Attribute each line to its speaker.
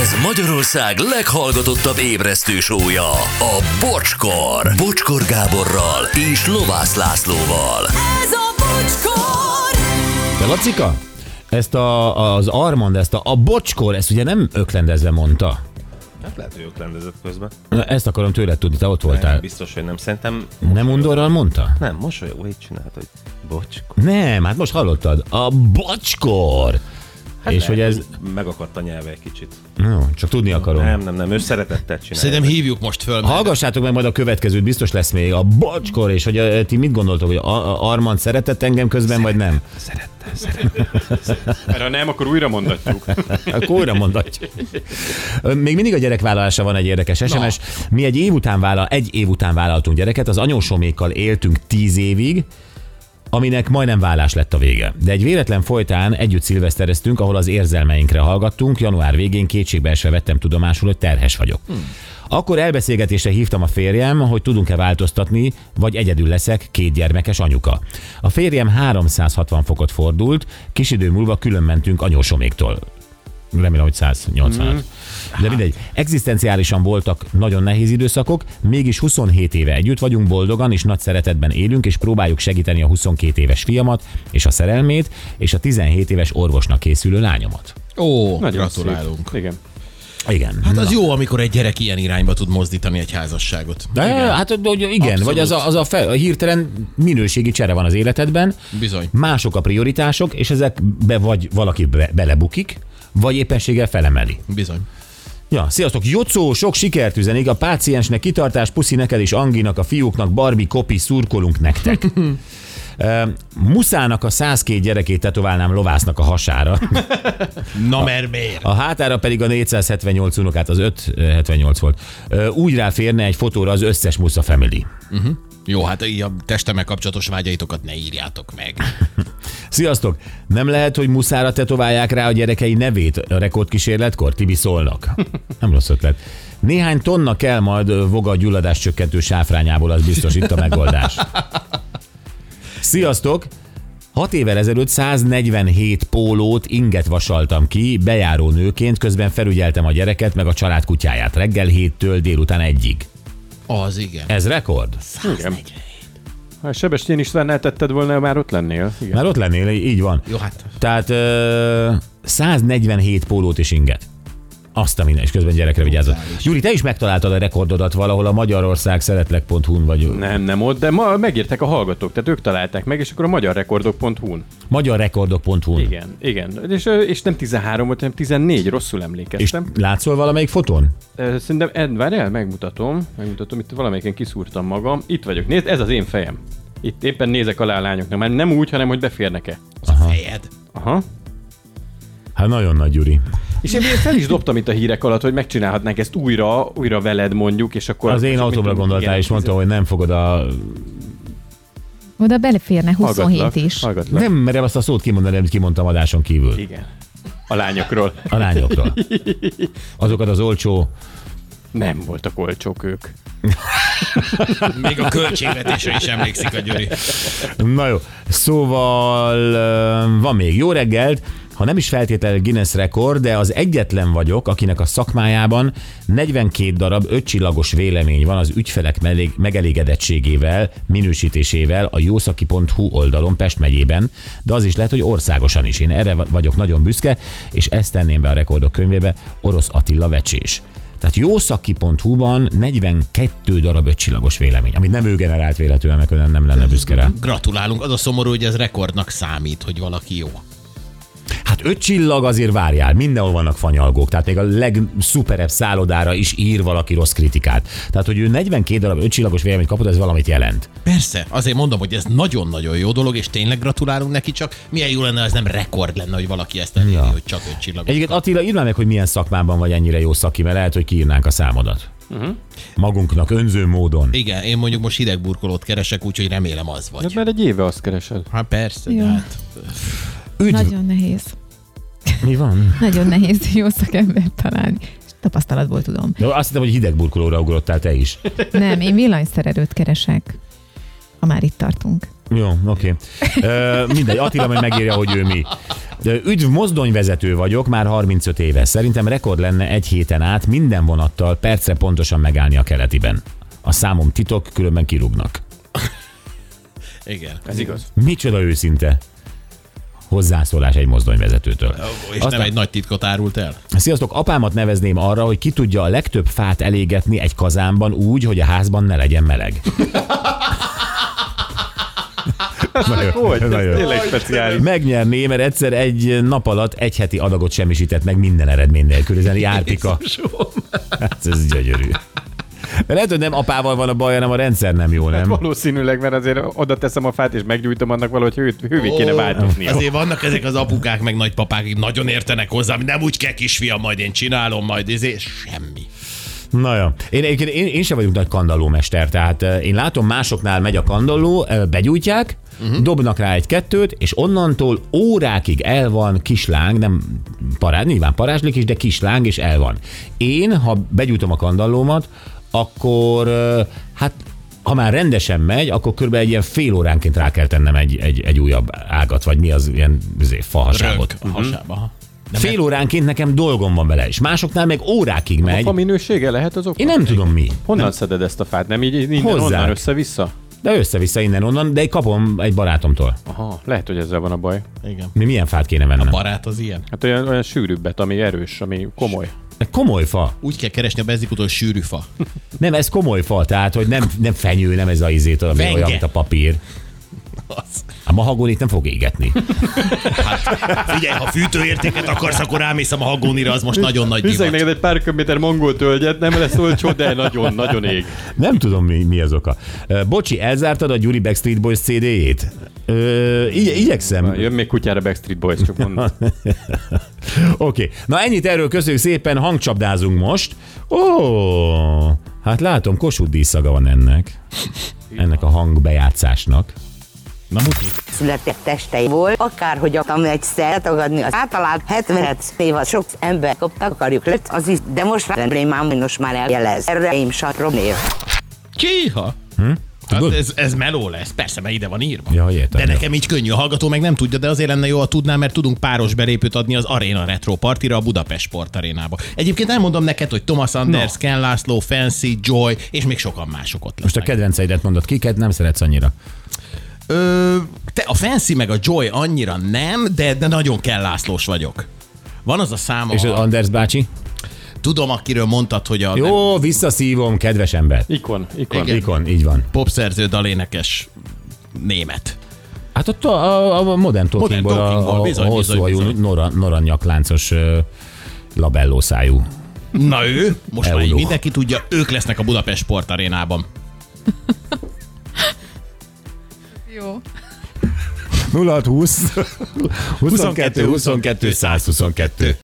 Speaker 1: Ez Magyarország leghallgatottabb ébresztő sója, a Bocskor. Bocskor Gáborral és Lovász Lászlóval.
Speaker 2: Ez a bocskor!
Speaker 3: De Lacika, ezt a, az Armand, ezt a, a bocskor, ezt ugye nem öklendezve mondta.
Speaker 4: Hát lehet, hogy öklendezett közben.
Speaker 3: Na, Ezt akarom tőled tudni, te ott
Speaker 4: Nem,
Speaker 3: voltál.
Speaker 4: biztos, hogy nem. Szerintem
Speaker 3: Nem undorral mondta?
Speaker 4: nem, mosolyogó így csinált, hogy bocskor.
Speaker 3: Nem, hát most hallottad. A bocskor! Hát és
Speaker 4: Nem,
Speaker 3: hogy ez...
Speaker 4: Megakadt a nyelve egy kicsit.
Speaker 3: No, csak tudni akarom.
Speaker 4: Nem, nem, nem, ő szeretettel csinálja.
Speaker 5: Szerintem hívjuk most föl. Ha?
Speaker 3: Hallgassátok meg majd a következőt, biztos lesz még a bocskor, és hogy ö, ti mit gondoltok, hogy a, a Armand szeretett engem közben, vagy nem?
Speaker 4: Szeretettel, szeretettel.
Speaker 6: Mert ha nem, akkor újra mondatjuk.
Speaker 3: Akkor újra mondatjuk. Ö, Még mindig a gyerekvállalása van egy érdekes SMS. Mi egy év után vállal, egy év után vállaltunk gyereket, az anyósomékkal éltünk tíz évig, aminek majdnem vállás lett a vége. De egy véletlen folytán együtt szilvesztereztünk, ahol az érzelmeinkre hallgattunk, január végén kétségbeesve vettem tudomásul, hogy terhes vagyok. Akkor elbeszélgetésre hívtam a férjem, hogy tudunk-e változtatni, vagy egyedül leszek két gyermekes anyuka. A férjem 360 fokot fordult, kis idő múlva külön mentünk anyósoméktól. Remélem, hogy 180. Mm. De mindegy. Egzisztenciálisan voltak nagyon nehéz időszakok, mégis 27 éve együtt vagyunk, boldogan és nagy szeretetben élünk, és próbáljuk segíteni a 22 éves fiamat és a szerelmét, és a 17 éves orvosnak készülő lányomat.
Speaker 5: Ó,
Speaker 6: Nagyon
Speaker 5: gratulálunk.
Speaker 6: Szép. Igen.
Speaker 3: Igen.
Speaker 5: Hát az jó, amikor egy gyerek ilyen irányba tud mozdítani egy házasságot.
Speaker 3: De, igen. Hát hogy igen, Abszolút. vagy az a, az a, fel, a hirtelen minőségi csere van az életedben,
Speaker 5: Bizony.
Speaker 3: mások a prioritások, és ezekbe vagy valaki be, belebukik, vagy éppenséggel felemeli.
Speaker 5: Bizony.
Speaker 3: Ja, sziasztok, Jocó, sok sikert üzenik a páciensnek, kitartás, puszi neked és Anginak, a fiúknak, Barbie, kopi, szurkolunk nektek. Ö, Muszának a 102 gyerekét tetoválnám lovásznak a hasára,
Speaker 5: Na mert miért?
Speaker 3: a hátára pedig a 478 unokát, az 578 volt. Ö, Úgy ráférne egy fotóra az összes Musza family.
Speaker 5: Jó, hát így a testemmel kapcsolatos vágyaitokat ne írjátok meg.
Speaker 3: Sziasztok! Nem lehet, hogy muszára tetoválják rá a gyerekei nevét a rekordkísérletkor? Tibi szólnak. Nem rossz ötlet. Néhány tonna kell majd ö, voga a gyulladás csökkentő sáfrányából, az biztos itt a megoldás. Sziasztok! Hat évvel ezelőtt 147 pólót inget vasaltam ki, bejáró nőként, közben felügyeltem a gyereket, meg a család kutyáját reggel 7-től délután egyig.
Speaker 5: Az igen.
Speaker 3: Ez rekord?
Speaker 6: Igen. Ha Sebestyén István eltetted volna, már ott lennél. Igen.
Speaker 3: Már ott lennél, így van.
Speaker 5: Jó, hát
Speaker 3: Tehát ö, 147 pólót és inget. Azt a minden, és közben gyerekre vigyázott. Gyuri, te is megtaláltad a rekordodat valahol a magyarország szeretlek.hu-n, vagy ne.
Speaker 6: Nem, nem ott, de ma megírták a hallgatók, tehát ők találták meg, és akkor a magyarrekordok.hu-n.
Speaker 3: magyarrekordok.hu-n.
Speaker 6: Igen, igen. És, ö, és nem 13 volt, hanem 14, rosszul
Speaker 3: És
Speaker 6: emlékeztem.
Speaker 3: látszol valamelyik fotón?
Speaker 6: Ö, Szerintem, Ed, várjál, megmutatom, megmutatom, itt valamelyiken kiszúrtam magam. Itt vagyok, nézd, ez az én fejem. Itt éppen nézek alá a lányoknak, már nem úgy, hanem hogy beférnek-e.
Speaker 5: az a fejed.
Speaker 6: Aha.
Speaker 3: Hát nagyon nagy, Gyuri.
Speaker 6: És én még fel is dobtam itt a hírek alatt, hogy megcsinálhatnánk ezt újra, újra veled mondjuk, és akkor...
Speaker 3: Az én
Speaker 6: és mit
Speaker 3: autómra
Speaker 6: tudom,
Speaker 3: gondoltál,
Speaker 6: igen,
Speaker 3: és mondtam, hogy nem fogod a...
Speaker 7: Oda beleférne 27
Speaker 6: Hallgatlak,
Speaker 7: is.
Speaker 6: Hallgatlak.
Speaker 3: Nem merem azt a szót kimondani, amit kimondtam adáson kívül.
Speaker 6: Igen. A lányokról.
Speaker 3: A lányokról. Azokat az olcsó...
Speaker 6: Nem voltak olcsók ők.
Speaker 5: Még a költségvetésre is emlékszik a Gyuri.
Speaker 3: Na jó, szóval ö, van még jó reggelt, ha nem is feltétlenül Guinness rekord, de az egyetlen vagyok, akinek a szakmájában 42 darab ötcsillagos vélemény van az ügyfelek melég- megelégedettségével, minősítésével a jószaki.hu oldalon Pest megyében, de az is lehet, hogy országosan is. Én erre va- vagyok nagyon büszke, és ezt tenném be a rekordok könyvébe, Orosz Attila Vecsés. Tehát jószaki.hu-ban 42 darab ötcsillagos vélemény, amit nem ő generált véletlenül, mert ő nem lenne büszke rá.
Speaker 5: Gratulálunk, az a szomorú, hogy ez rekordnak számít, hogy valaki jó.
Speaker 3: Hát öt csillag azért várjál, mindenhol vannak fanyalgók, tehát még a legszuperebb szállodára is ír valaki rossz kritikát. Tehát, hogy ő 42 darab öt csillagos véleményt kapott, ez valamit jelent.
Speaker 5: Persze, azért mondom, hogy ez nagyon-nagyon jó dolog, és tényleg gratulálunk neki, csak milyen jó lenne, ha ez nem rekord lenne, hogy valaki ezt elérni, ja. hogy csak öt csillagot.
Speaker 3: Egyébként
Speaker 5: kap.
Speaker 3: Attila, írd már meg, hogy milyen szakmában vagy ennyire jó szaki, mert lehet, hogy kiírnánk a számodat. Magunknak önző módon.
Speaker 5: Igen, én mondjuk most hidegburkolót keresek, úgyhogy remélem az
Speaker 6: Hát
Speaker 5: vagy.
Speaker 6: már egy éve azt keresed.
Speaker 5: Hát persze, de
Speaker 7: Jó.
Speaker 5: hát
Speaker 3: Üdv,
Speaker 7: Nagyon nehéz.
Speaker 3: mi van?
Speaker 7: Nagyon nehéz jó szakembert találni. És Tapasztalatból tudom.
Speaker 3: De azt hittem, hogy hidegburkolóra ugrottál te is.
Speaker 7: Nem, én villanyszerelőt keresek, ha már itt tartunk.
Speaker 3: Jó, oké. Okay. Mindegy, Attila majd megírja, hogy ő mi. Ö, Üdv mozdonyvezető vagyok, már 35 éves. Szerintem rekord lenne egy héten át minden vonattal percre pontosan megállni a keletiben. A számom titok, különben kirúgnak.
Speaker 5: Igen.
Speaker 6: Ez igaz.
Speaker 3: Micsoda őszinte hozzászólás egy mozdonyvezetőtől.
Speaker 5: És Aztán... nem egy nagy titkot árult el?
Speaker 3: Sziasztok, apámat nevezném arra, hogy ki tudja a legtöbb fát elégetni egy kazánban úgy, hogy a házban ne legyen meleg. nagyon,
Speaker 4: Hogy? Ez
Speaker 3: nagyon.
Speaker 4: tényleg speciális.
Speaker 3: Megnyerné, mert egyszer egy nap alatt egy heti adagot semmisített meg minden eredmény nélkül. Ez egy árpika. Hát ez gyönyörű. Lehet, hogy nem apával van a baj, hanem a rendszer nem jó,
Speaker 6: Hát
Speaker 3: nem?
Speaker 6: Valószínűleg, mert azért oda teszem a fát, és meggyújtom annak valahogy hő, hővé kéne változni.
Speaker 5: Azért vannak ezek az apukák, meg nagypapák, akik nagyon értenek hozzá, hogy nem úgy kell kisfiam, majd én csinálom, majd ezért semmi.
Speaker 3: Na jó. Én, én, én, én sem vagyok nagy kandallómester, tehát eh, én látom másoknál megy a kandalló, eh, begyújtják, uh-huh. dobnak rá egy-kettőt, és onnantól órákig el van kisláng, nem parád, nyilván parázslik is, de kisláng, és el van. Én, ha begyújtom a kandallómat, akkor eh, hát ha már rendesen megy, akkor körülbelül egy ilyen fél óránként rá kell tennem egy, egy, egy újabb ágat, vagy mi az ilyen izé, fahaságot.
Speaker 5: Rög a hasába. ha.
Speaker 3: Nem fél óránként nekem dolgom van vele, és másoknál meg órákig
Speaker 6: A
Speaker 3: megy.
Speaker 6: fa minősége lehet az oka?
Speaker 3: Én nem tudom mi.
Speaker 6: Honnan nem. szeded ezt a fát? Nem így így innen,
Speaker 3: Hozzák.
Speaker 6: onnan, össze-vissza?
Speaker 3: De össze-vissza innen-onnan, de kapom egy barátomtól.
Speaker 6: Aha, lehet, hogy ezzel van a baj.
Speaker 5: Igen.
Speaker 3: Mi milyen fát kéne vennem?
Speaker 5: Barát az ilyen.
Speaker 6: Hát olyan, olyan sűrűbbet, ami erős, ami komoly.
Speaker 3: Egy komoly fa.
Speaker 5: Úgy kell keresni a bezikutól sűrű fa.
Speaker 3: Nem, ez komoly fa, tehát hogy nem, nem fenyő, nem ez a izét, ami
Speaker 5: Fenge.
Speaker 3: olyan, mint a papír.
Speaker 5: Az.
Speaker 3: A mahagonit nem fog égetni.
Speaker 5: Figyelj, ha fűtőértéket akarsz, akkor rámész a hagónira, az most nagyon nagy
Speaker 6: Hiszek
Speaker 5: divat.
Speaker 6: neked egy pár köbméter mongol tölgyet, nem lesz olcsó, de nagyon, nagyon ég.
Speaker 3: Nem tudom, mi, mi az oka. Ö, Bocsi, elzártad a Gyuri Backstreet Boys CD-jét? Ö, igy- igyekszem.
Speaker 6: Na, Jön még kutyára Backstreet Boys, csak mondom.
Speaker 3: Oké. Okay. Na ennyit erről, köszönjük szépen, hangcsapdázunk most. Ó, hát látom, Kossuth díszaga van ennek. Ennek a hangbejátszásnak.
Speaker 5: Na muti.
Speaker 8: született testei volt, akárhogy akartam egyszer tagadni az általában 70 év az sok ember koptak akarjuk lett, az is, de most már problémám, hogy most már eljelez. Erre én sem probléma.
Speaker 5: Kiha? Hát
Speaker 3: Hm? Tudod?
Speaker 5: ez, ez meló lesz, persze, mert ide van írva.
Speaker 3: Ja, értem,
Speaker 5: de
Speaker 3: jó.
Speaker 5: nekem így könnyű, a hallgató meg nem tudja, de azért lenne jó, ha tudná, mert tudunk páros belépőt adni az Arena Retro Partira, a Budapest Sportarénába. Egyébként elmondom neked, hogy Thomas Anders, no. Ken László, Fancy, Joy, és még sokan mások ott
Speaker 3: Most a
Speaker 5: lesznek.
Speaker 3: kedvenceidet mondod, kiket nem szeretsz annyira.
Speaker 5: Ö, te a Fancy meg a Joy annyira nem, de, de nagyon Ken Lászlós vagyok. Van az a száma,
Speaker 3: És az
Speaker 5: a...
Speaker 3: Anders bácsi?
Speaker 5: tudom, akiről mondtad, hogy a nem,
Speaker 3: Jó, visszaszívom, kedves ember.
Speaker 6: Ikon, ikon.
Speaker 5: Igen.
Speaker 3: Ikon, így van.
Speaker 5: popszerző dalénekes német.
Speaker 3: Hát ott a, a, a Modern Talkingból
Speaker 5: Modern Talkingból,
Speaker 3: a, a,
Speaker 5: bizony,
Speaker 3: a hosszú
Speaker 5: bizony,
Speaker 3: hajú,
Speaker 5: bizony.
Speaker 3: nora, nyakláncos labelló szájú.
Speaker 5: Na ő, most már így
Speaker 3: Eunuch.
Speaker 5: mindenki tudja, ők lesznek a Budapest Sportarénában.
Speaker 7: Jó.
Speaker 3: 0620 22 22 122